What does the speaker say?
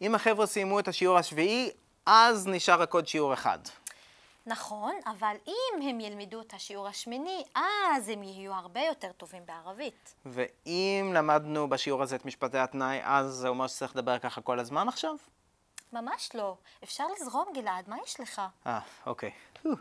אם החבר'ה סיימו את השיעור השביעי, אז נשאר רק עוד שיעור אחד. נכון, אבל אם הם ילמדו את השיעור השמיני, אז הם יהיו הרבה יותר טובים בערבית. ואם למדנו בשיעור הזה את משפטי התנאי, אז זה אומר שצריך לדבר ככה כל הזמן עכשיו? ממש לא. אפשר לזרום, גלעד, מה יש לך? אה, אוקיי.